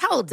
Hold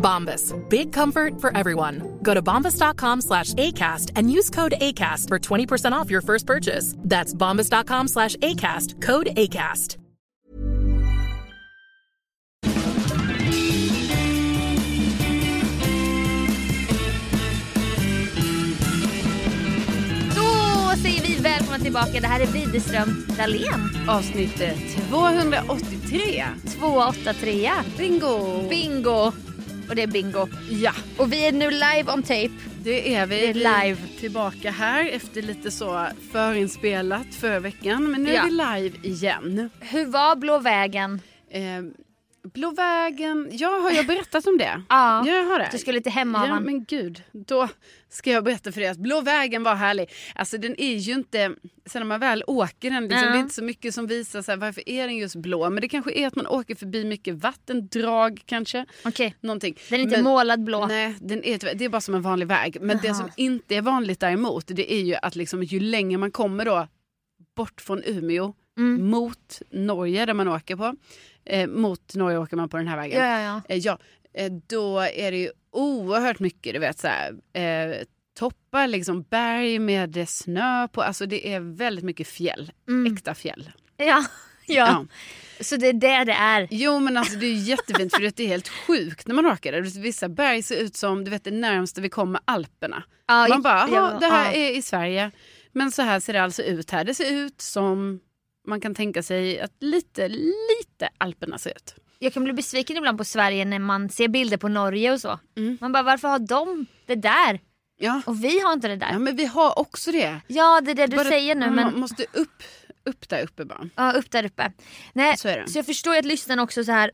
Bombas. Big comfort for everyone. Go to bombas.com slash ACAST and use code ACAST for 20% off your first purchase. That's bombas.com slash ACAST. Code ACAST. Då säger vi välkomna tillbaka. Det här är Widerström Dahlén. Avsnitt eh, 283. 283. Bingo! Bingo. Och det är bingo. ja, Och vi är nu live on tape. det är vi. Det är live. Vi är Tillbaka här efter lite så förinspelat förra veckan. Men nu Ja. är vi live igen. Hur var Blå vägen? Eh, Blå vägen. Ja, har jag berättat om det? Ja. jag har det. Du skulle till Ja, Hemavan. men gud. Då ska jag berätta för dig att Blå vägen var härlig. Alltså den är ju inte, sen när man väl åker den, liksom, Ja. det är inte så mycket som visar så här, varför är den just blå. Men det kanske är att man åker förbi mycket vattendrag kanske. Okej. Någonting. Den är inte men, målad blå. Nej, den är, tyvärr- det är bara som en vanlig väg. Men det Jaha. som inte är vanligt däremot, det är ju att liksom, ju längre man kommer då bort från Umeå Mm. mot Norge där man åker på, eh, mot Norge åker man på den här vägen. Ja, ja, ja. Eh, ja, eh, då är det ju oerhört mycket, du vet så här, eh, toppar, liksom berg med eh, snö på. Alltså det är väldigt mycket fjäll, Mm. äkta fjäll. Ja. Ja. Så det är det det är. Jo men alltså det är ju jättefint för det är helt sjukt när man åker där. Du vet, Vissa berg ser ut som du vet, det närmaste vi kommer Alperna. Ja, Man bara, ja, ja, det här ja. är i Sverige. Men så här ser det alltså ut här. Det ser ut som man kan tänka sig att lite, lite Alperna ser ut. Jag kan bli besviken ibland på Sverige när man ser bilder på Norge och så. Mm. Man bara, varför har de det där? Ja. Och vi har inte det ja, där. men vi har också det. Ja, det är det du Bara- säger nu. Men Man måste upp, upp där uppe bara. Ja, upp där uppe. Nej, Så är det. så jag förstår ju att lyssnarna också så här,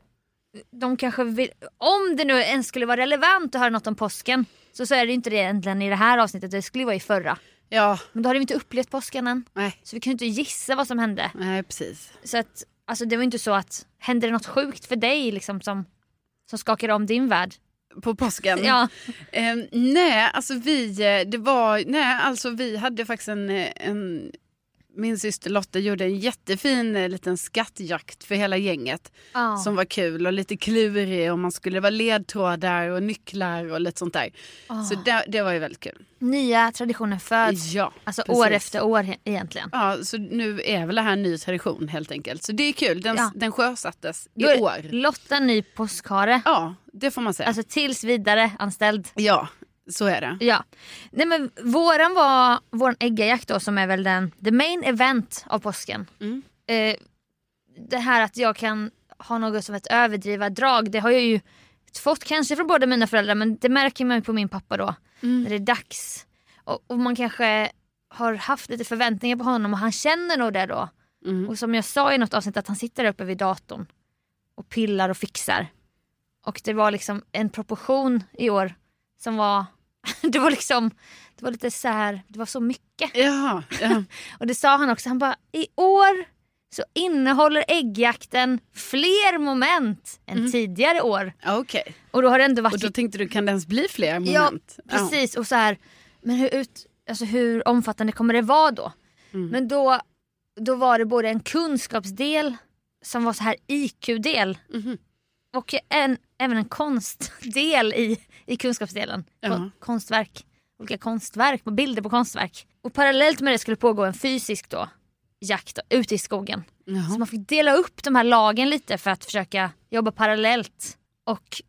de kanske vill, om det nu ens skulle vara relevant att höra något om påsken, så, så är det ju inte det egentligen i det här avsnittet, det skulle ju vara i förra. Ja, Men då hade vi inte upplevt påsken än, nej, så vi kunde inte gissa vad som hände. nej precis. Så att, alltså det var ju inte så att, hände det något sjukt för dig liksom som, som skakar om din värld? På påsken. Ja, Eh, nej, alltså vi, eh, det var, nej, alltså vi hade faktiskt en, eh, en... Min syster Lotta gjorde en jättefin eh, liten skattjakt för hela gänget. ja. som var kul och lite klurig och man skulle vara ledtrådar och nycklar och lite sånt där. Ah. Så det, det var ju väldigt kul. nya traditioner föds, Ja, alltså precis. år efter år he- egentligen. ja, så nu är väl det här en ny tradition helt enkelt. Så det är kul, den, Ja. den sjösattes i Då är år. Lotta ny påskhare, Ja, det får man säga. alltså tills vidare anställd. ja, så är det. Ja. Nej men våran var vår äggajakt då som är väl den, the main event av påsken. Mm. Eh, det här att jag kan ha något som ett överdriva drag, det har jag ju fått kanske från båda Mm. mina föräldrar men det märker man ju på min pappa då. När det är dags. Och, och man kanske har haft lite förväntningar på honom och han känner nog det då. Mm. Och som jag sa i något avsnitt att han sitter där uppe vid datorn och pillar och fixar. Och det var liksom en proportion i år som var, det var liksom, det var lite så här, det var så mycket. Jaha, ja. Och det sa han också, han bara i år så innehåller äggjakten fler moment än tidigare år. Ja, okej. Och då har det ändå Mhm. Och varit då tänkte du, kan det ens bli fler moment? Alltså- Ja, precis. Och så här, men hur, ut, alltså hur omfattande kommer det vara då? Mm. Men då, då var det både en kunskapsdel som var så här IQ-del Mhm. och en, även en konstdel i, i kunskapsdelen. Ko- Ja. Konstverk, olika konstverk, bilder på konstverk. Och parallellt med det skulle pågå en fysisk då, jakt ute i skogen. Så Jaha. man fick dela upp de här lagen lite för att försöka jobba parallellt. Och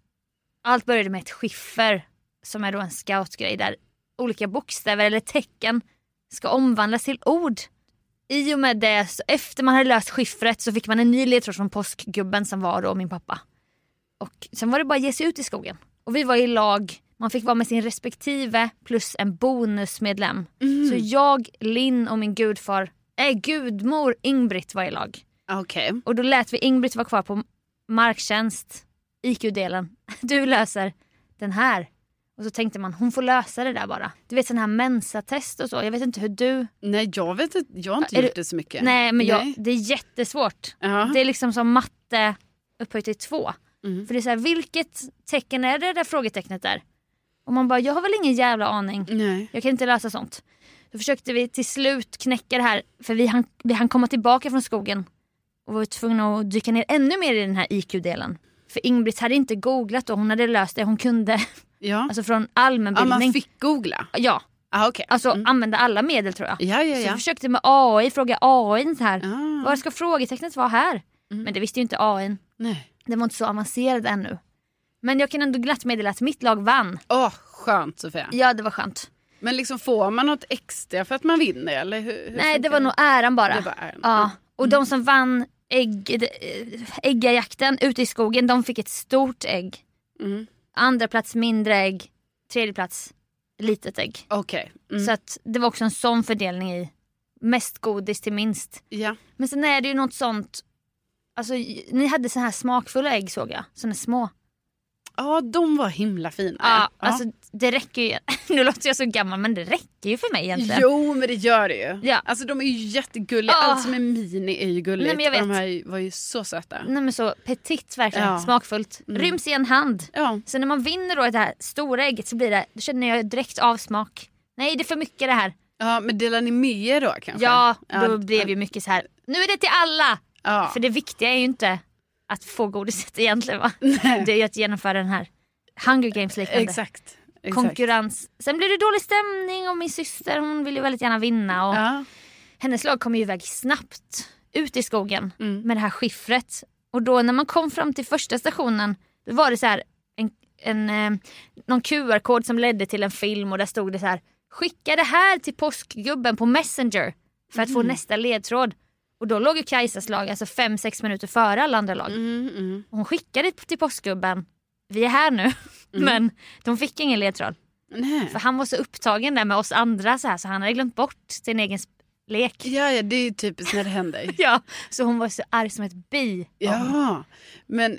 allt började med ett skiffer som är då en scoutgrej där olika bokstäver eller tecken ska omvandlas till ord. I och med det, så efter man hade löst skiffret så fick man en ny ledtråd från påskgubben som var då min pappa. Och sen var det bara att ge sig ut i skogen. Och vi var i lag, man fick vara med sin respektive plus en bonusmedlem. Så jag, Linn och min gudfar, nej gudmor Ingbritt var i lag. ah, Okej. Och då lät vi Ingbritt vara kvar på marktjänst, IQ-delen. Du löser den här. Och så tänkte man, hon får lösa det där bara. Du vet sån här mensatest och så. Jag vet inte hur du... Nej, jag vet inte. Jag har inte Är gjort du- det så mycket. Nej men jag, Nej. det är jättesvårt. Ja. Det är liksom som matte upphöjt till två. Mm. För det är så här, vilket tecken är det där frågetecknet är? Och man bara, jag har väl ingen jävla aning. Nej. Jag kan inte lösa sånt. Då försökte vi till slut knäcka det här för vi hann, vi hann komma tillbaka från skogen och var tvungna att dyka ner ännu mer i den här IQ-delen. För Ingbritt hade inte googlat och hon hade löst det hon kunde, Ja. alltså från ja, allmänbildning. man fick googla. Ja, Ah, okay. alltså använda alla medel tror jag. Ja, ja, Så ja. jag försökte med AI fråga AI så här, Ah. Mm. vad ska frågetecknet vara här? Men det visste ju inte AI. Nej. Den var inte så avancerad ännu. Men jag kan ändå glatt meddela att mitt lag vann. Åh, skönt Sofia. Ja, det var skönt. Men liksom får man något extra för att man vinner eller? Hur, hur Nej, funkar det var nog äran bara. Det var Mm. äran. Ja. Och de som vann ägg, eh, äggajakten ute i skogen, de fick ett stort ägg. Mm. Andra plats mindre ägg, tredje plats litet ägg. Okej. Mm. Så att det var också en sån fördelning i mest godis till minst. Ja. Men sen är det ju något sånt, alltså j- ni hade så här smakfulla ägg såg jag, såna små. ja, de var himla fina. Ja, Alltså det räcker ju, nu låter jag så gammal men det räcker ju för mig egentligen. Jo, men det gör det ju. Ja. Alltså de är ju jättegulliga. Ah. Allt som är mini är ju gulligt. Nej, men jag vet. Och De här var ju så söta. Nej men så petit verkligen, Ja. Mm. smakfullt. Ryms i en hand. Ja. Så när man vinner då det här stora ägget så blir det, då känner jag direkt avsmak. Nej det är för mycket det här. ja, men delar ni med er då kanske? Ja, då blev ju mycket så här. nu är det till alla! Ja. För det viktiga är ju inte att få godiset egentligen va? Det är ju att genomföra den här Hunger Games liknande Exakt. Exakt. konkurrens. Sen blev det dålig stämning och min syster hon ville ju väldigt gärna vinna och Ja. hennes lag kom ju iväg snabbt ut i skogen Mm. med det här skiffret. Och då när man kom fram till första stationen då var det så här en, en, eh, någon QR-kod som ledde till en film och där stod det så här skicka det här till påskgubben på Messenger för att få Mm. nästa ledtråd. Och då låg ju Kajsas lag alltså 5-6 minuter före alla andra lag. Mm, mm. Hon skickade till påskgubben, vi är här nu. Men de fick ingen ledtråd. Nej. För han var så upptagen där med oss andra så här så han hade glömt bort sin egen sp- lek. Ja, ja, det är ju typiskt när det händer. Ja, så hon var så arg som ett bi. Ja, men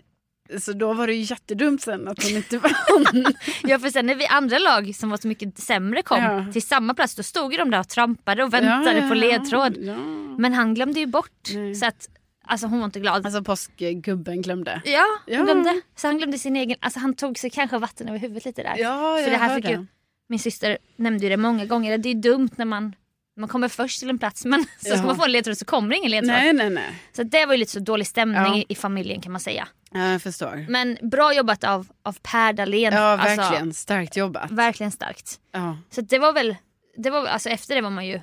så då var det ju jättedumt sen att hon inte vann. Ja för sen när vi andra lag som var så mycket sämre kom Ja. till samma plats då stod ju de där och trampade och väntade på ledtråd. Ja. Men han glömde ju bort Nej. så att alltså hon var inte glad. Alltså påskgubben glömde. ja, hon Ja. glömde. Så han glömde sin egen, alltså han tog sig kanske vatten över huvudet lite där. Ja, För jag det här hör fick det. ju, min syster nämnde ju det många gånger, det är ju dumt när man man kommer först till en plats men så ska Ja. man få en ledtråd så kommer det ingen ledtråd. Nej, nej, nej. Så det var ju lite så dålig stämning Ja. i, i familjen kan man säga. Ja, jag förstår. Men bra jobbat av, av Per Dahlén. Ja, Alltså, verkligen. Starkt jobbat. verkligen starkt. Ja. Så det var väl, det var, alltså efter det var man ju,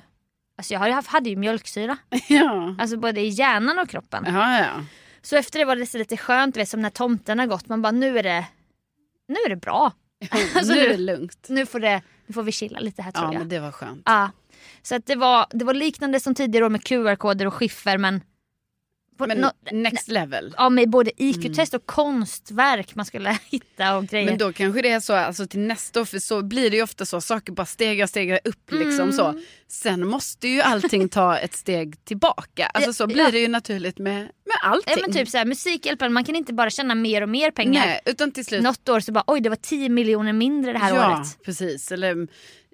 alltså jag hade ju haft- hade ju mjölksyra. Ja. Alltså både i hjärnan och kroppen. Ja, ja. Så efter det var det så lite skönt, du vet, som när tomten har gått. Man bara nu är det, nu är det bra. Alltså, nu är nu- det lugnt. Nu får, det, nu får vi chilla lite här tror Ja, jag. men det var skönt. Ja. Så att det, var, det var liknande som tidigare år med QR-koder och skiffer men På Men nå- next level. ja, med både IQ-test och konstverk man skulle hitta och grejer. Mm. Men då kanske det är så alltså, till nästa år, för så blir det ju ofta så, saker bara stegar, stegar upp liksom så. Mm. Sen måste ju allting ta ett steg tillbaka. Alltså så blir Ja. det ju naturligt med, med allting. ja, men typ så här, Musikhjälpen, man kan inte bara tjäna mer och mer pengar. Nej, utan till slut. Något år så bara oj det var 10 miljoner mindre det här ja, året. precis. Eller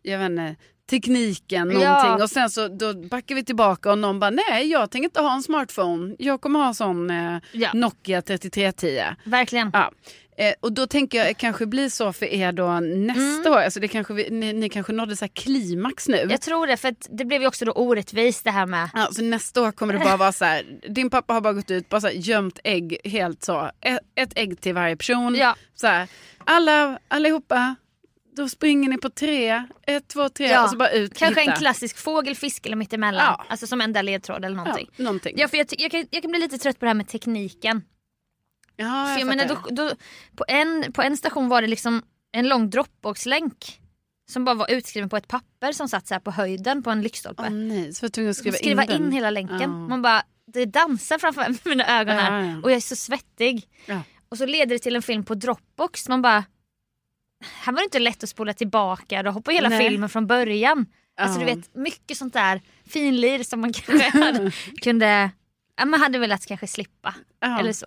jag vet inte, tekniken någonting. Ja. Och sen så då backar vi tillbaka och någon bara, nej jag tänker inte ha en smartphone. Jag kommer ha en sån eh, Ja. Nokia 3310. Verkligen. Ja. Eh, och då tänker jag det kanske blir så för er då nästa år. Alltså det kanske vi, ni, ni kanske nådde så här klimax nu. Mm. Jag tror det för att det blev ju också då orättvist det här med Ja, så nästa år kommer det bara vara så här. Din pappa har bara gått ut bara så här, gömt ägg helt så. Ett, ett ägg till varje person. Ja. Så här, alla, allihopa, då springer ni på tre. Ett, två, tre. Ja. Och så bara ut. kanske hitta. en klassisk fågel, fisk eller mittemellan. Ja. Alltså som enda ledtråd eller Ja, någonting. Ja. någonting. för jag, ty- jag, kan, jag kan bli lite trött på det här med tekniken. Ja, för jag fattar. menar, då, då, på, en, på en station var det liksom en lång Dropbox-länk som bara var utskriven på ett papper som satt så här på höjden på en lyktstolpe. Åh nej, så var jag tvungen att skriva, skriva, skriva in, den. hela länken. Ja. Man bara, det dansar framför mina ögon här Ja, ja. och jag är så svettig. Ja. Och så leder det till en film på Dropbox. Man bara, här var det inte lätt att spola tillbaka och hoppa hela Nej. filmen från början. Alltså Ja. du vet, mycket sånt där finlir som man kanske hade, kunde, ja, man hade velat kanske slippa. Ja. Eller så.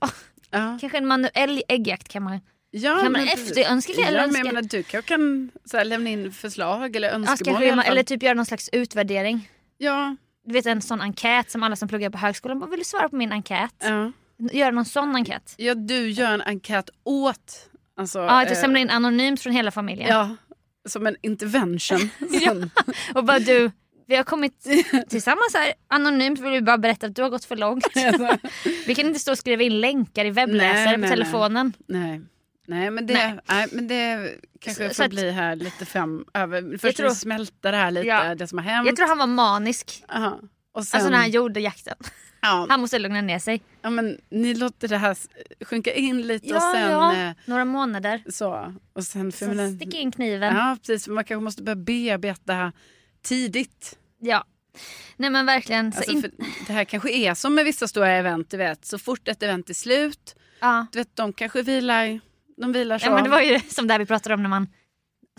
Ja. Kanske en manuell äggjakt kan man, Ja, kan man men precis. efterönska Ja, eller men önska. jag menar, du kan- kan så här, lämna in förslag eller Ja, önskemål kanske i göra- alla fall. eller typ göra någon slags utvärdering. Ja, Du vet en sån enkät som alla som pluggar på högskolan bara, vill du svara på min enkät? ja. Göra någon sån enkät. ja, du gör en enkät åt... Alltså, Ja, att du eh, samlar in anonymt från hela familjen. Ja, som en intervention. Sen, Och bara du, vi har kommit tillsammans här anonymt vill vi bara berätta att du har gått för långt. vi kan inte stå och skriva in länkar i webbläsare Alltså. Nej, på nej, telefonen. Nej. Nej men det, Nej. nej. men det kanske Så- så får att- bli här lite framöver. Först tror- tror, smälta det här lite, Ja. det som har hänt. Jag tror han var manisk. Aha. Och sen, Alltså när han gjorde jakten. ja, Han måste lugna ner sig. ja, men ni låter det här s- sjunka in lite och Ja, sen ja. eh, Några månader. så. Och sen, för jag Sen menar- stick in kniven. Ja. ja, precis, för man kanske måste börja bearbeta tidigt. Nej men verkligen. Så Alltså, in... för det här kanske är som med vissa stora event, du vet. Så fort ett event är slut, ja. du vet, de kanske vilar, de vilar så. Ja, men det var ju som det här vi pratade om när man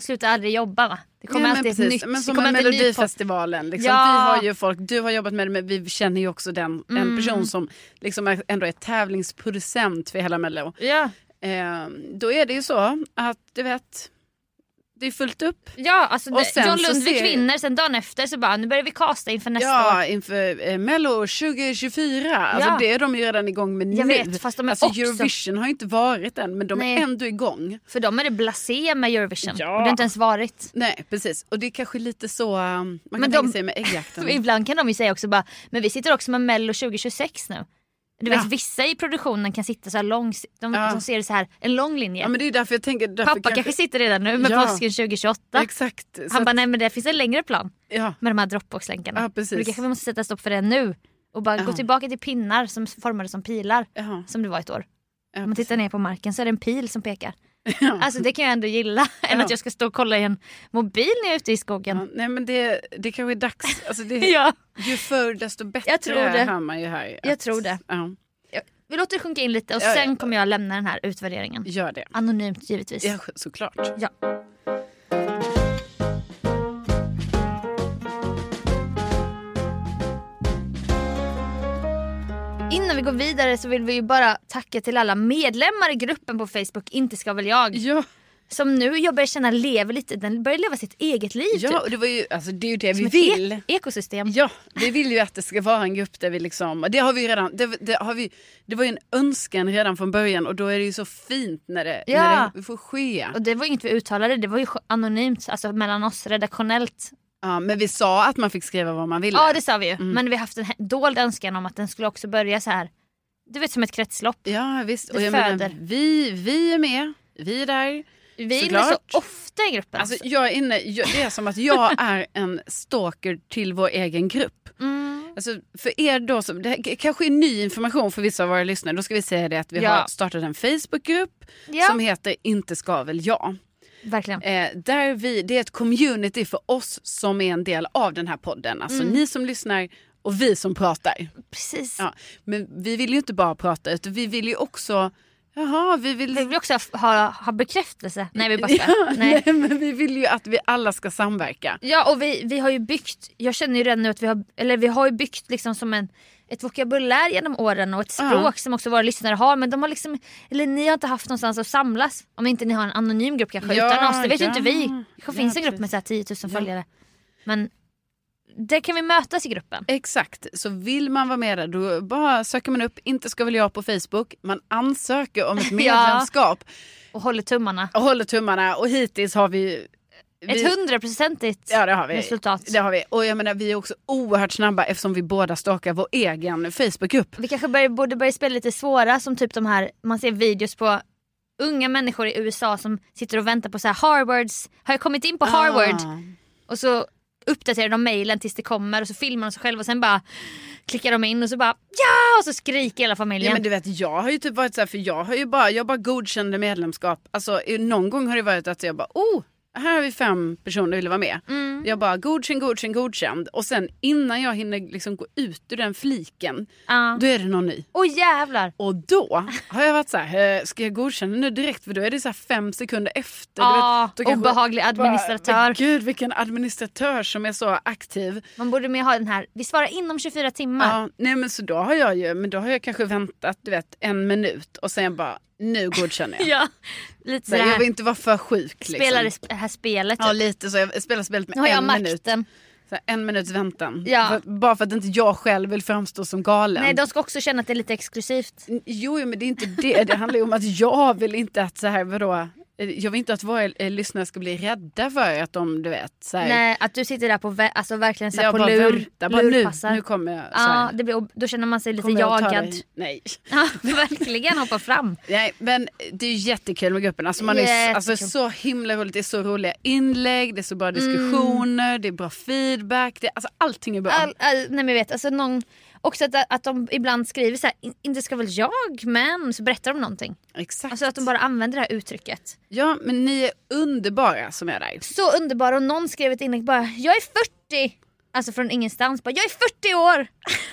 slutar aldrig jobba va? Det kommer Ja, men alltid ett precis. nytt. Men det som kommer med alltid en ny pop- Melodifestivalen. Liksom. Ja. Vi har ju folk, du har jobbat med det men vi känner ju också den, Mm. en person som liksom är, ändå är tävlingsproducent för hela Mello. Ja. Eh, då är det ju så att du vet, det är fullt upp. Ja, alltså Och det, sen John så Lundvik ser- vinner, sen dagen efter så bara nu börjar vi kasta inför nästa år. Ja, inför eh, Mello 2024. Alltså, Ja. det är de ju redan igång med Jag nu. vet, fast de är alltså, också- Eurovision har ju inte varit än men de Nej. är ändå igång. För dem är det blasé med Eurovision. Ja. Och det har inte ens varit. Nej precis, och det är kanske lite så eh, man kan Men tänka de- sig med äggjakten. Så Ibland kan de ju säga också bara, men vi sitter också med Mello 2026 nu. Du vet vissa i produktionen kan sitta så här lång, de, Ja. de ser det så här, en lång linje. ja, men det är ju därför jag tänker... Därför Pappa kanske sitter redan nu med Ja. påsken 2028. Exakt. Så Han att- bara, nej men det finns en längre plan ja. med de här Dropbox-länkarna. Ja, precis. Men då kanske vi måste sätta stopp för det nu. Och bara gå tillbaka till pinnar som formades som pilar. Ja. Som det var ett år. Ja, Om man tittar ner på marken så är det en pil som pekar. Alltså det kan jag ändå gilla. Än att jag ska stå och kolla i en mobil när jag är ute i skogen. Ja, nej men det, det kanske är dags. Alltså det, Ja. Ju förr desto bättre Jag tror det. hör man ju här. Jag tror det. Ja, Vi låter det sjunka in lite och Ja, ja. sen kommer jag lämna den här utvärderingen. gör det. Anonymt givetvis. Ja, såklart. Ja. Innan vi går vidare så vill vi ju bara tacka till alla medlemmar i gruppen på Facebook, Inte ska väl jag, Ja, som nu jag börjar känna lever lite, den börjar leva sitt eget liv. ja typ. och det, var ju, alltså, det är ju det Som vi ett vill. E- ekosystem. Ja, vi vill ju att det ska vara en grupp där vi liksom, och det har vi ju redan, det, det, har vi, det var ju en önskan redan från början och då är det ju så fint när det, Ja. när det får ske. Och det var ju inget vi uttalade, det var ju anonymt, alltså mellan oss redaktionellt. Mm. Ja, men vi sa att man fick skriva vad man ville. Ja det sa vi ju, men vi har haft en he- dold önskan om att den skulle också börja så här. Du vet som ett kretslopp. ja visst. Och Det jag föder. menar, vi, vi är med, vi är där. Vi är inne Såklart. så ofta i gruppen. Alltså, jag är inne, jag, det är som att jag är en stalker till vår egen grupp. Mm. Alltså, för er då, som, det här k- kanske är ny information för vissa av våra lyssnare, då ska vi säga det att vi Ja. har startat en Facebookgrupp Ja. som heter Inte ska väl jag. Verkligen. Eh, Mm. där vi, det är ett community för oss som är en del av den här podden. Alltså ni som lyssnar och vi som pratar. Precis. Ja. Men vi vill ju inte bara prata utan vi vill ju också, jaha vi vill... Vi vill också ha- ha, ha bekräftelse. Nej vi backar. ja, nej. Nej. men vi vill ju att vi alla ska samverka. Ja och vi, vi har ju byggt, jag känner ju redan nu att vi har, eller vi har ju byggt liksom som en, ett vokabulär genom åren och ett språk Ja. som också våra lyssnare har men de har liksom, eller ni har inte haft någonstans att samlas. Om inte ni har en anonym grupp kanske Ja, utan oss, det vet ju ja. inte vi. Ja, Kanske finns en grupp med precis. så här 10 000 Ja. följare. Men där kan vi mötas i gruppen. Exakt, så vill man vara med där då bara söker man upp Inte ska väl jag på Facebook. Man ansöker om ett medlemskap Och håller tummarna. och håller tummarna och hittills har vi ju- vi- Ett hundraprocentigt Ja det har vi. resultat. Det har vi. Och jag menar vi är också oerhört snabba eftersom vi båda stakar vår egen Facebookgrupp. Vi kanske börjar, borde börja spela lite svåra som typ de här, man ser videos på unga människor i USA som sitter och väntar på så här Harvards, har jag kommit in på Harvard? Ah. Och så uppdaterar de mejlen tills det kommer och så filmar de sig själva och sen bara klickar de in och så bara ja och så skriker hela familjen. Ja, men du vet, jag har ju typ varit så här, för jag har ju bara, jag bara godkände medlemskap. Alltså i- någon gång har det varit att jag bara, oh, här har vi fem personer som vill vara med. Mm. Jag bara godkänd, godkänd, godkänd. Och sen innan jag hinner liksom gå ut ur den fliken, Ja. då är det någon ny. Ah. Åh jävlar! Och då har jag varit så här, eh, ska jag godkänna nu direkt? För då är det så här fem sekunder efter. du Ja, vet. Då kanske- Ah, obehaglig Bara, men administratör. gud vilken administratör som är så aktiv. Man borde mer ha den här, vi svarar inom 24 timmar. Ja, nej men så då har jag ju, men då har jag kanske väntat du vet en minut och sen bara nu godkänner jag. Ja, lite Så jag sådär. vill inte vara för sjuk. Liksom. Spela det sp- här spelet. Ja typ. lite så, jag spelar spelet med nu har jag en minut. makten. Så här, en minuts väntan. Ja. För, bara för att inte jag själv vill framstå som galen. Nej de ska också känna att det är lite exklusivt. Jo jo, men det är inte det, det handlar ju om att jag vill inte att så här vadå. eh, Jag vill inte att våra eh, lyssnare ska bli rädda för att de du vet så här, Nej, att du sitter där på, vä- alltså verkligen så här jag på bara lur. väntar, bara nu, lurpassar. nu kommer jag. Så här, ja, det blir, då känner man sig lite kommer jag ta jagad. dig. Nej. Ja, verkligen hoppa fram. Nej, men det är ju jättekul med gruppen. Alltså man är Jättekul. Mm. alltså, så himla roligt. Det är så roliga inlägg, det är så bra diskussioner, det är bra feedback. Det, alltså, allting är bra. All, all, nej men jag vet, alltså någon, också att, att de ibland skriver så här, "In- inte ska väl jag men, så berättar de någonting. Exakt. Alltså att de bara använder det här uttrycket. Ja, men ni är underbara som är där. Så underbara och någon skrev ett inlägg bara, jag är 40! Alltså från ingenstans bara, jag är 40 år!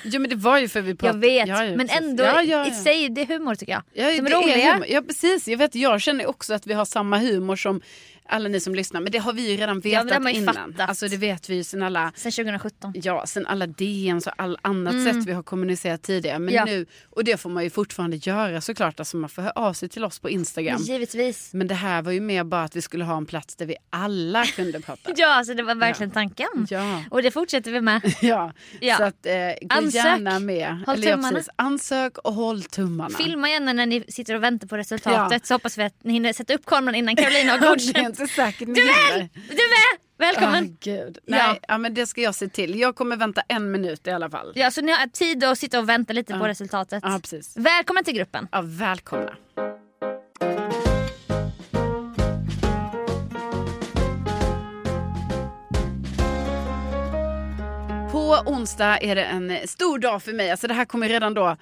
Jo, men det var ju för vi Jag pratade. vet, Ja, ja, men precis. ändå Ja, ja, i ja. sig, det är humor tycker jag. Ja, Som det är humor. ja, precis. Jag, vet, jag känner också att vi har samma humor som alla ni som lyssnar. Men det har vi ju redan Ja, men vetat det har man ju innan. fattat. Alltså det vet vi ju sen alla Sen 2017. Ja, sen alla DMs och all annat sätt vi har kommunicerat tidigare. Men Mm. Ja. nu, och det får man ju fortfarande göra såklart. Alltså man får höra av sig till oss på Instagram. Givetvis. Men det här var ju mer bara att vi skulle ha en plats där vi alla kunde prata. Ja, alltså det var verkligen tanken. Ja. Och det fortsätter vi med. Ja. Ja. Så att, eh, gå Ansök. gärna med. Håll ja, tummarna. precis. Ansök och håll tummarna. Filma gärna när ni sitter och väntar på resultatet Ja. så hoppas vi att ni hinner sätta upp kameran innan Carolina har det är godkänt. inte säkert ni Du är hinner. med! Du är med! Välkommen! Åh, gud. Nej, Ja. ja. men det ska jag se till. Jag kommer vänta en minut i alla fall. Ja, så ni har tid att sitta och vänta lite på resultatet. Ja, precis. Välkommen till gruppen. Ja, välkomna. På onsdag är det en stor dag för mig. Alltså det här kommer redan då.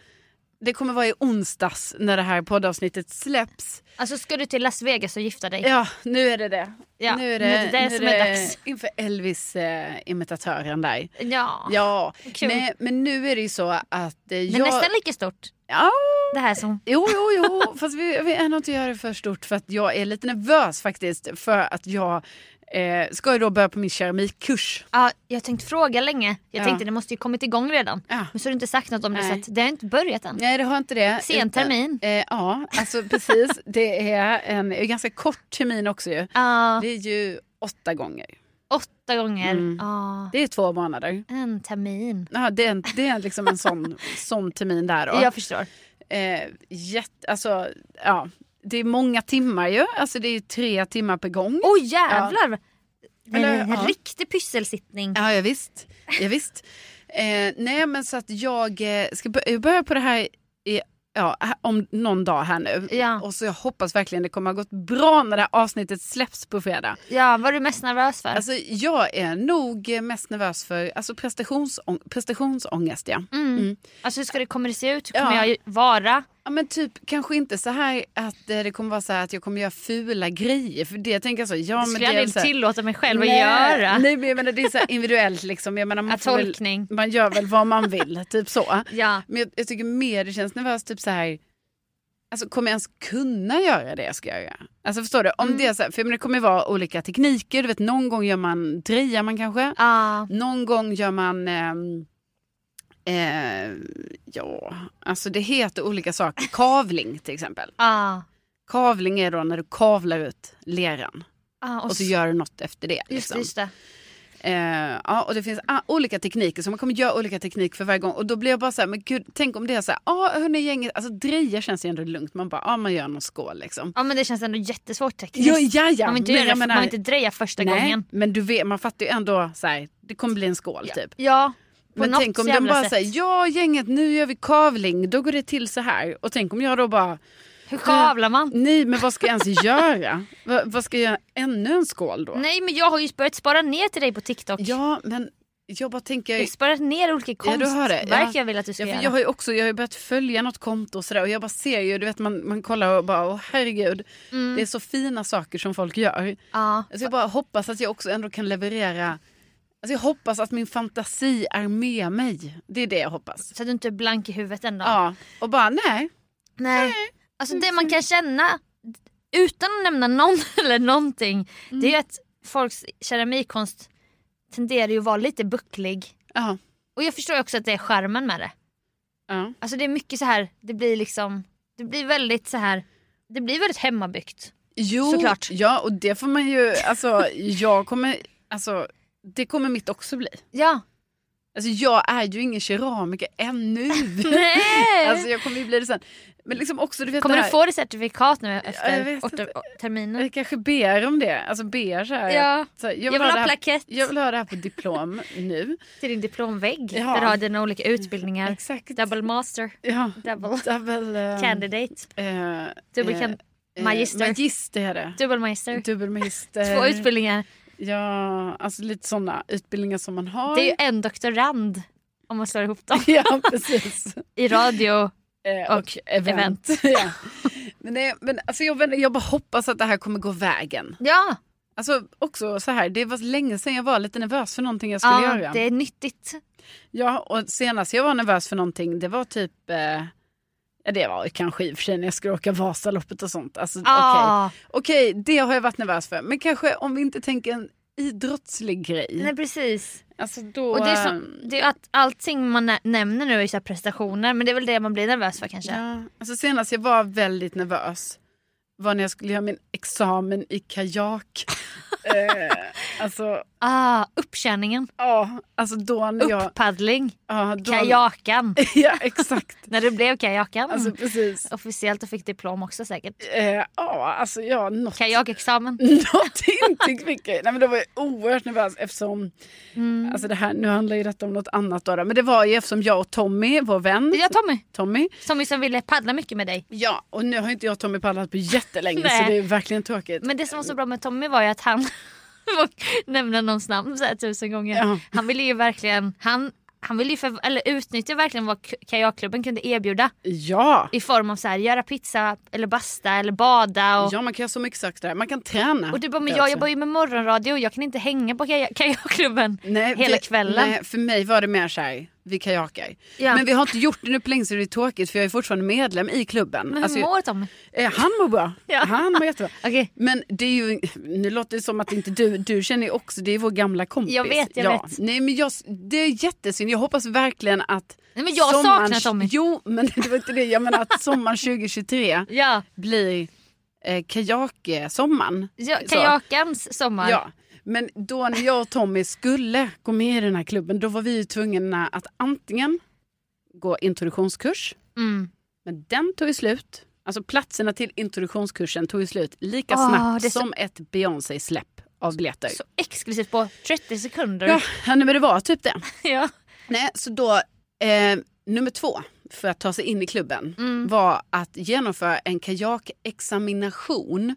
Det kommer vara i onsdags när det här poddavsnittet släpps. Alltså ska du till Las Vegas och gifta dig? Ja, nu är det det. Ja, nu är nu är det det nu som är dags. Inför Elvis-imitatören där. Ja. Ja, Ah, kul. Nej, men nu är det ju så att eh, Det är jag... nästan lika stort ja, det här som... Jo, jo, jo. Fast vi, vi ändå inte göra det för stort för att jag är lite nervös faktiskt för att jag eh, ska ju då börja på min keramikkurs. Ja, jag har tänkt fråga länge. Jag Ja. tänkte det måste ju kommit igång redan. Ja. Men så har du inte sagt något om det så Nej. att det har inte börjat än. Nej, det har inte det. Sen termin. Utan, eh, ja, alltså precis. Det är en, en ganska kort termin också ju. Ja, Det Mm. är ju åtta gånger. åtta gånger. Ja, Det är två månader. en termin. Ja, det är, en, det är liksom en sån, sån termin där då. Jag förstår. Eh, jätte, alltså, ja. Det är många timmar ju. Alltså det är ju tre timmar per gång. Åh jävlar! Det är Eller, en ja. riktig pysselsittning. Ja, ja visst. Ja, visst. Eh, nej, men så att jag eh, ska bör- börja på det här i, ja, här- om någon dag här nu. Ja. Och så jag hoppas verkligen det kommer ha gått bra när det här avsnittet släpps på fredag. Ja, vad är du mest nervös för? Alltså, jag är nog eh, mest nervös för alltså, prestationsång- prestationsångest. Ja. Mm. Alltså hur ska det, kommer det se ut? Hur mm. Ja. kommer jag vara? Ja, men typ kanske inte så här att eh, det kommer vara så här att jag kommer göra fula grejer. För det tänker jag så. Ja, Det men det skulle jag är aldrig så här- tillåta mig själv Nej, att göra. Nej, men jag menar, det är så här individuellt. Liksom. Jag menar, man, Att får väl, tolkning. man gör väl vad man vill, typ så. Ja. Men jag, jag tycker mer det känns nervöst, typ så här... Alltså, kommer jag ens kunna göra det jag ska göra? Alltså, förstår du? Om det, är så här, för jag menar, det kommer ju vara olika tekniker. Du vet, någon gång gör man, drejar man kanske. Ah. Någon gång gör man... ehm, eh, ja, alltså det heter olika saker. Kavling till exempel. Ah. Kavling är då när du kavlar ut leran Ah. och så s- gör du något efter det. Just, liksom. det, just det. Eh, ja, och det finns ah, olika tekniker, så man kommer göra olika teknik för varje gång. Och då blir jag bara så här, men gud, tänk om det är så här, ja ah, hörni gänget, alltså dreja känns ju ändå lugnt. Man bara, ja ah, man gör någon skål liksom. Ja men det känns ändå jättesvårt tekniskt. Ja, ja, ja. Man vill inte, men göra, jag man vill inte dreja första nej, gången. men du vet, man fattar ju ändå så här, det kommer bli en skål typ. Ja, på Men något tänk om de jävla bara sätt. säger, ja gänget nu gör vi kavling, då går det till så här. Och tänk om jag då bara, Hur kavlar man? nej men vad ska jag ens göra? Va, vad ska jag göra? Ännu en skål då? Nej men jag har ju börjat spara ner till dig på TikTok. Ja men jag bara Jag tänker, har sparat ner olika Ja, du har det. konstverk Ja. jag vill att du ska Ja, för göra. jag har ju också jag har ju börjat följa något konto och sådär och jag bara ser ju, du vet man, man kollar och bara åh herregud. Det är så fina saker som folk gör. Ja. Alltså, jag bara hoppas att jag också ändå kan leverera, alltså, jag hoppas att min fantasi är med mig. Det är det jag hoppas. Så att du inte är blank i huvudet en dag. Ja, och bara nej. Mm, Nej. Alltså det man kan känna utan att nämna någon eller någonting det Mm. är ju att folks keramikkonst tenderar ju att vara lite bucklig. Ja, Och jag förstår ju också att det är skärmen med det. ja. Alltså det är mycket så här, det blir liksom, det blir väldigt så här, det blir väldigt hemmabyggt. Jo, Såklart. ja och det får man ju, alltså jag kommer, alltså det kommer mitt också bli. Ja. Alltså jag är ju ingen keramiker ännu. Nej. Alltså jag kommer ju bli det sen. Men liksom också du vet Kommer det du här. få ditt certifikat nu Ja, jag efter vet åtta inte. å- terminer? Jag kanske ber om det. Alltså ber så här. Mm. Ja. Så här, Jag vill ha det här, plakett. Jag vill ha det här på diplom nu. Till din diplomvägg Ja. där du har dina olika utbildningar. Exakt. Double master, Ja. double Double... eh, candidate, eh, Dubbel eh, kan- eh, magister. Magister är det. double master. Dubbelmagister. Två utbildningar. Ja, alltså lite sådana utbildningar som man har. Det är ju en doktorand om man slår ihop dem Ja, precis. i radio. Eh, Och event. ja. Men, nej, men alltså jag, vet inte, jag bara hoppas att det här kommer gå vägen. Ja, Alltså också så här, det var länge sedan jag var lite nervös för någonting jag skulle ja göra. det är nyttigt. Ja, och senast jag var nervös för någonting, det var typ... Eh, ja, det var kanske i och för sig när jag skulle åka Vasaloppet och sånt. Alltså, okej. Ah, Okej, det har jag varit nervös för. Men kanske om vi inte tänker en idrottslig grej. Nej precis. Alltså då... Och det är, eh, som, det är att allting man nä- nämner nu är ju så här prestationer men det är väl det man blir nervös för kanske. ja, alltså senast jag var väldigt nervös var när jag skulle göra min examen i kajak. eh, alltså, Ah, uppkärningen, ja, alltså då när jag... upppaddling, Ja, då, kajakan. Ja, exakt. När du blev kajakan. Alltså precis. Officiellt och fick diplom också säkert. Eh, ja, alltså ja, något. Kajakexamen. Någonting fick jag. Nej, men det var jag oerhört nervös eftersom, Mm. alltså det här, nu handlar ju detta om något annat då, då. men det var ju eftersom jag och Tommy, vår vän, Ja Tommy, Tommy, Tommy som ville paddla mycket med dig. ja och nu har inte jag och Tommy paddlat på jättelänge så Nej. det är verkligen tråkigt. Men det som var så bra med Tommy var ju att han nämnde någons namn så här tusen gånger. Ja. Han ville ju verkligen, han, han ville ju för, eller utnyttja verkligen vad k- kajakklubben kunde erbjuda Ja. i form av så här göra pizza eller basta eller bada och, ja, man kan göra så mycket saker där, man kan träna. och du bara men Det jag också. jobbar ju med morgonradio jag kan inte hänga på kaj- kajakklubben Nej, hela vi- kvällen. Nej, för mig var det mer så här, vi kajakar. Ja. Men vi har inte gjort det nu på länge så det är tråkigt för jag är fortfarande medlem i klubben. Men hur Alltså, mår Tommy? eh, han mår bra. Ja. Han mår jättebra. Okej. Men det är ju, nu låter det som att inte du, du känner ju också, det är vår gamla kompis. Jag vet, jag ja. vet. Nej men jag, det är jättesynd, jag hoppas verkligen att Nej, men jag sommaren- saknar Tommy. Jo, men det var inte det, jag menar att sommaren 2023 Ja, blir eh, kajaksommaren. ja Så. kajakans sommar. Ja. Men då när jag och Tommy skulle gå med i den här klubben, då var vi ju tvungna att antingen gå introduktionskurs, Mm. men den tog ju slut. Alltså platserna till introduktionskursen tog ju slut lika Åh, snabbt Ah, det är så- som ett Beyoncé-släpp av biljetter. Så exklusivt på 30 sekunder. Ja, nej, men det var typ det. ja. Nej, så då, eh, nummer två för att ta sig in i klubben Mm. var att genomföra en kajakexamination.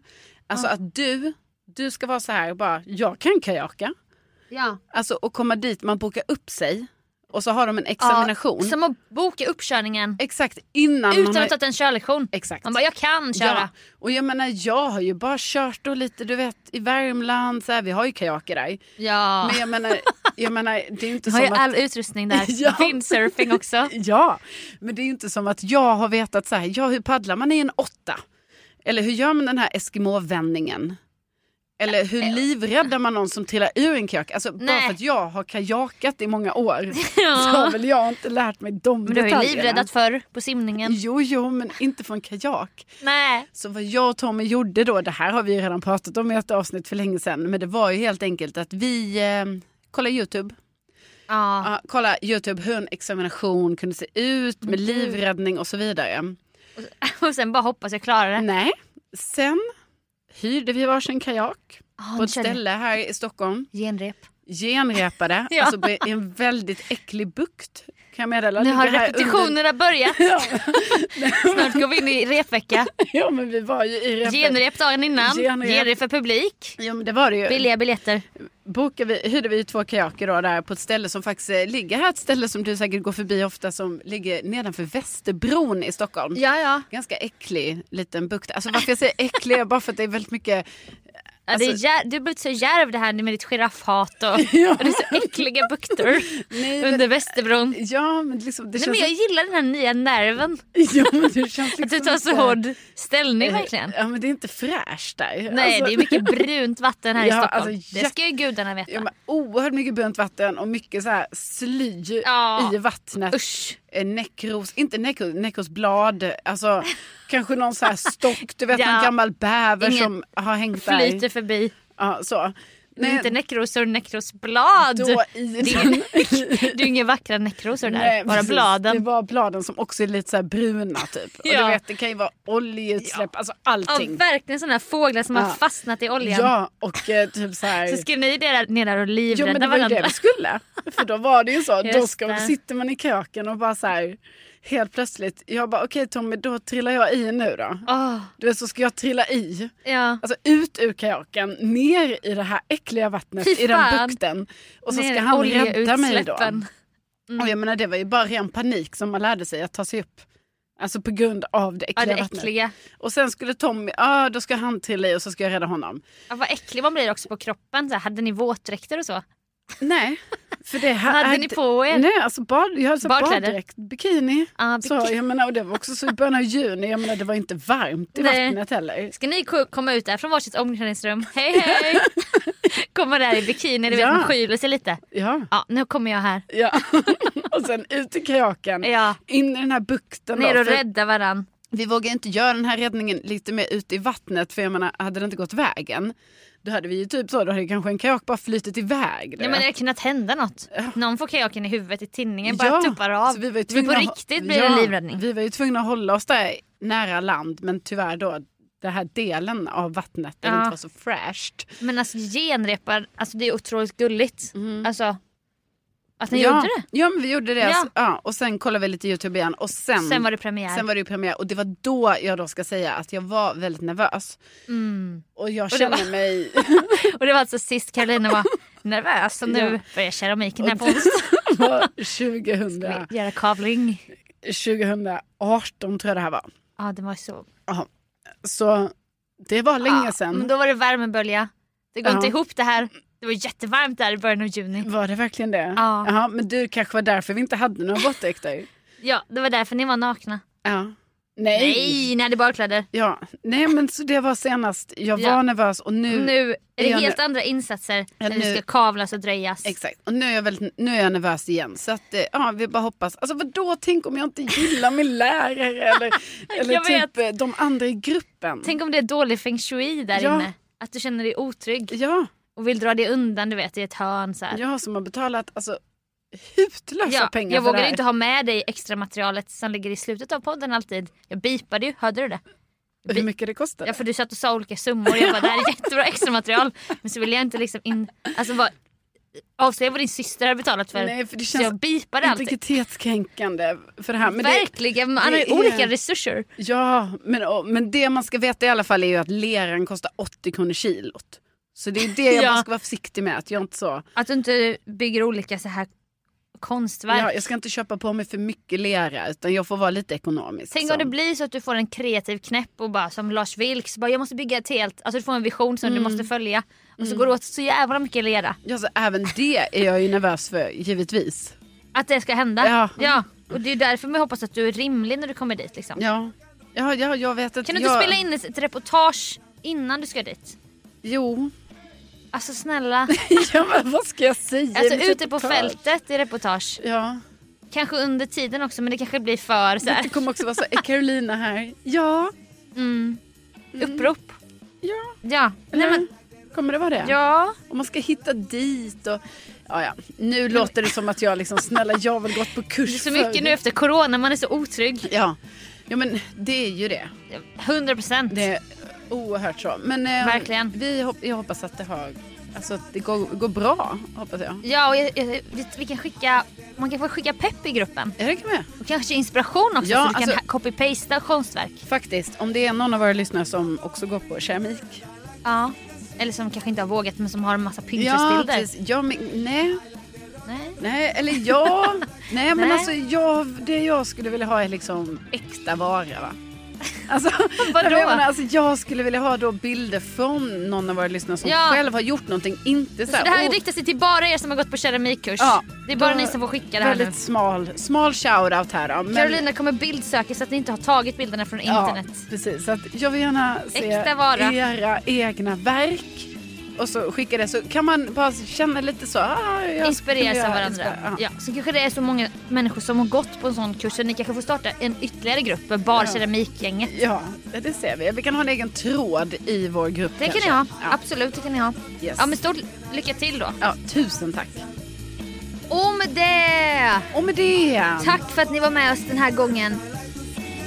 Ah. Alltså att du, du ska vara så här bara, jag kan kajaka. Ja. Alltså att komma dit, man bokar upp sig och så har de en examination. Ja, som att boka uppkörningen Exakt innan man utan har- att ha tagit en körlektion. Exakt. Man bara, jag kan köra. Ja, och jag menar jag har ju bara kört och lite du vet i Värmland, så här, vi har ju kajaker där. Ja. Men jag menar, jag menar det är ju inte Jag har ju som att... all utrustning där. Ja. Windsurfing också. Ja, men det är ju inte som att jag har vetat så här, ja hur paddlar man i en åtta? Eller hur gör man den här Eskimo-vändningen? Eller hur livräddar man någon som trillar ur en kajak? Alltså bara Nej. för att jag har kajakat i många år så har väl jag inte lärt mig de Men du har detaljerna. ju livräddat förr på simningen. Jo, jo, men inte från kajak. Nej. Så vad jag och Tommy gjorde då, det här har vi ju redan pratat om i ett avsnitt för länge sedan, men det var ju helt enkelt att vi eh, kollade YouTube. Ja. Ja, kolla YouTube hur en examination kunde se ut med Mm. livräddning och så vidare. Och sen bara hoppas jag klarar det. Nej, sen hyrde vi varsin kajak på Ja, Ah, nu ett kör vi. ställe här i Stockholm. Genrep. Genrepade, Ja. alltså i en väldigt äcklig bukt kan jag meddela. Nu har Ligger här repetitionerna börjat. Snart går vi in i repvecka. Under... Ja, men vi var ju i repet. Genrep dagen innan. Genrep. Genrep för publik. Ja, men det var det ju. Billiga biljetter. bokade vi, hyrde vi två kajaker då, där på ett ställe som faktiskt eh, ligger här, ett ställe som du säkert går förbi ofta som ligger nedanför Västerbron i Stockholm. Ja, ja. Ganska äcklig liten bukt. Alltså varför jag säger äcklig är bara för att det är väldigt mycket Ja, det är Alltså- jär, du har blivit så djärv det här med ditt giraffhat och, och det är så äckliga bukter Nej, men- under Västerbron. Nej, Ja men liksom det men känns... jag gillar den här nya nerven. ja, men det känns liksom Att du tar så inte- Eh, alltså- hård ställning verkligen. Ja men det är inte fräscht där. Nej Alltså- det är mycket brunt vatten här i Ja, Stockholm. alltså, det jätte- ska ju gudarna Ja, veta. men oerhört mycket brunt vatten och mycket så här sly Ja. i vattnet. Usch. Eh, Näckros, inte näckros, näckrosblad. Alltså kanske någon så här stock, du vet Ja. någon gammal bäver Ingen som har hängt där. Flyter förbi. Ja, så. Men inte nekrosor, nekrosblad. då i Det är, den- det är inga vackra nekrosor där, Nej, bara precis. Det bladen. var bladen som också är lite så här bruna typ. Ja. Och du vet det kan ju vara oljeutsläpp, alltså Ja, allting. verkligen sådana fåglar som har Ja. fastnat i oljan. Ja och eh, typ så här. Så ska ni där, ner där och Jo men det livrädda var ju varandra. det vi skulle. För då var det ju så. Då Just ska, det. sitter man i köken och bara så här. Helt plötsligt. Jag bara okej Tommy då trillar jag i nu då. Åh, Du vet så ska jag trilla i. ja. Alltså ut ur kajaken, ner i det här äckliga vattnet, Fy i fan. den bukten. Och så ska han rädda mig då. oljeutsläppen. Och jag menar det var ju bara ren panik som man lärde sig att ta sig upp. Alltså på grund av det Ja, äckliga det vattnet. äckliga. Och sen skulle Tommy, ja då ska han trilla i och så ska jag rädda honom. Ja, vad äcklig man blir också på kroppen. Så här, hade ni våtdräkter och så? Nej, för det här hade ni på er? Nej, alltså bad, jag hade så här Badkläder? baddräkt, bikini. Ah, Så, jag menar, och det var också så i början av juni, jag menar det var inte varmt i Nej. vattnet heller. Ska ni ko- komma ut där från varsitt omklädningsrum? Hej hej! Komma där i bikini, du vet Ja. man skyler sig lite. Ja, Ja, nu kommer jag här. ja. och sen ut i kajaken, Ja. in i den här bukten. Ner då, och för rädda varann. Vi vågar inte göra den här räddningen lite mer ute i vattnet, för jag menar hade det inte gått vägen, då hade vi ju typ så, då hade kanske en kajak bara flytit iväg. du Nej, men det vet. hade kunnat hända något. Någon får kajaken i huvudet i tinningen, bara Ja, tuppar av. så vi var ju Det blir på tvungna att ha- riktigt blir det Ja, livräddning. Vi var ju tvungna att hålla oss där nära land, men tyvärr då den här delen av vattnet där Ja. det inte var så fräscht. Men alltså genrepar, alltså det är otroligt gulligt. Alltså att ni Mm. ja. gjorde det. Ja, men vi gjorde det. Ja. Alltså, ja, och sen kollade vi lite YouTube igen och sen, Sen var det premiär. sen var det ju premiär och det var då jag då ska säga att jag var väldigt nervös. Och jag Mm. det känner var- mig... Och det var alltså sist Carolina var nervös och nu Ja. börjar keramiken här på onsdag. var Ska 2000, vi Göra kavling. 2018 tror jag det här var. Ja det var så. Ja. Så det var länge ja, sedan. Men då var det värmebölja. Det går Ja. inte ihop det här. Det var jättevarmt där i början av juni. Var det verkligen det? Ja. Jaha, men du kanske var därför vi inte hade några våtdräkter? Ja det var därför ni var nakna. Ja. Nej, Nej. ni hade badkläder. Ja. Nej men så det var senast. Jag var Ja. nervös och nu... Nu är det Ja, nu- helt andra insatser Ja, när det nu- ska kavlas och dröjas. Exakt. Och nu är jag, väldigt, nu är jag nervös igen. Så att, eh, ja, vi bara hoppas. Alltså vadå, tänk om jag inte gillar min lärare eller, eller Jag typ vet. eh, de andra i gruppen. Tänk om det är dålig feng shui där Ja. inne. Att du känner dig otrygg Ja, och vill dra dig undan du vet i ett hörn. Så här. jag som har betalat alltså, hutlösa Ja, Alltså, pengar för jag det vågade här. inte ha med dig extra materialet som ligger i slutet av podden alltid. Jag bipade ju, hörde du det? Hur mycket det kostar. Ja, för du satt och sa olika summor. Jag bara, det här är jättebra extra material. Men så ville jag inte liksom in... Alltså bara avslöja vad din syster har betalat för. Nej, för det så jag känns bipade alltid. integritetskränkande för det här. Men det, Verkligen, man har ju det är- olika resurser. ja, men, och, men det man ska veta i alla fall är ju att leran kostar 80 kronor kilot. Så det är det jag Ja. bara ska vara försiktig med. Att jag inte så... Att du inte bygger olika så här konstverk. Ja, jag ska inte köpa på mig för mycket lera utan jag får vara lite ekonomisk. Tänk så. om det blir så att du får en kreativ knäpp och bara som Lars Vilks, bara, jag måste bygga ett helt, alltså du får en vision som Mm. du måste följa och så går det åt så jävla mycket lera. Ja, så även det är jag ju nervös för givetvis. Att det ska hända. Ja. Och det är därför man hoppas att du är rimlig när du kommer dit liksom. Ja, ja, ja jag vet att Kan du inte jag... spela in ett reportage innan du ska dit? Jo. Alltså snälla, ja, men vad ska jag säga? alltså Mitt ute på reportage. fältet i reportage. Ja, Kanske under tiden också men det kanske blir för så här, det kommer också vara så här, är Carolina här? Ja. Mm. upprop. Mm. Ja. Ja. Nej, men, Kommer det vara det? ja. Och man ska hitta dit och... Ja, ja. Nu låter det som att jag liksom, snälla jag har väl gått på kurs Det är så förr. mycket nu efter corona, man är så otrygg. Ja. ja, men det är ju det. 100 procent. Det är oerhört så. Men eh, Verkligen. Vi hop- jag hoppas att det, har, alltså, att det går, går bra, hoppas jag. Ja, och jag, jag, vi, vi kan skicka, man kan få skicka pepp i gruppen. Är det med? Och kanske inspiration också Ja, så du alltså- kan ha- copy-pasta konstverk. Faktiskt, om det är någon av våra lyssnare som också går på keramik. Ja. Eller som kanske inte har vågat men som har en massa Pinterest-bilder. precis. ja men nej, Nej. nej, eller ja. nej, men Nej. alltså jag, det jag skulle vilja ha är liksom äkta vara va. Alltså, Vadå? Jag, menar, alltså, jag skulle vilja ha då bilder från någon av våra lyssnare som Ja. själv har gjort någonting. Inte så, Så Oh. här, det här "Åh, riktar sig till bara er som har gått på keramikkurs. Ja. det är bara Då- ni som får skicka det här Väldigt smal, smal shout-out här då. nu. Men, Carolina kommer bildsöka så att ni inte har tagit bilderna från internet. Ja, precis. Så att jag vill gärna se Äkta vara. era egna verk. Och så skicka det så kan man bara känna lite så. Ah, jag skulle Inspireras göra- av varandra. inspirera- ja. Ja. Så kanske det är så många människor som har gått på en sån kurs så ni kanske får starta en ytterligare grupp, bara keramikgänget. Ja, det ser vi. Vi kan ha en egen tråd i vår grupp. Det kan kanske. ni ha, Ja. absolut det kan ni ha. Yes. Ja men stort lycka till då. ja, tusen tack. Och med det! Och med det. Tack för att ni var med oss den här gången.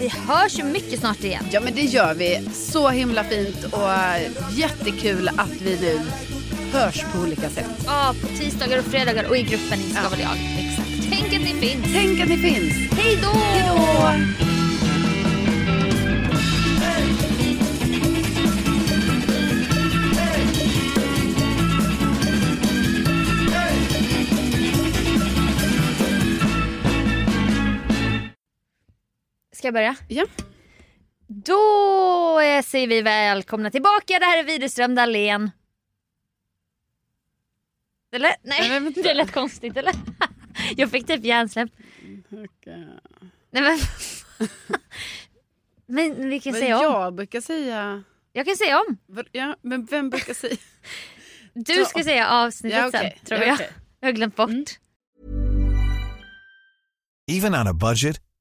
Vi hörs ju mycket snart igen. Ja, men det gör vi. Så himla fint och eh, jättekul att vi nu hörs på olika sätt. Ja, på tisdagar och fredagar och i gruppen Inte ska väl jag. Exakt. Tänk att ni finns. Tänk att ni finns. Hej då! Ska jag börja? Ja. Då eh, säger vi välkomna tillbaka. Det här är Widerström Dahlén. Det lät, Nej, nej, men vänta. det lät konstigt eller? Jag fick typ hjärnsläpp. Nej men... men vi kan Men säga om. jag brukar säga... Jag kan säga om. Vad- Ja, men vem brukar säga... Du Så- ska säga avsnittet Ja, okej. sen tror Ja, jag. okej. Mm. Jag har glömt bort. Even on a budget,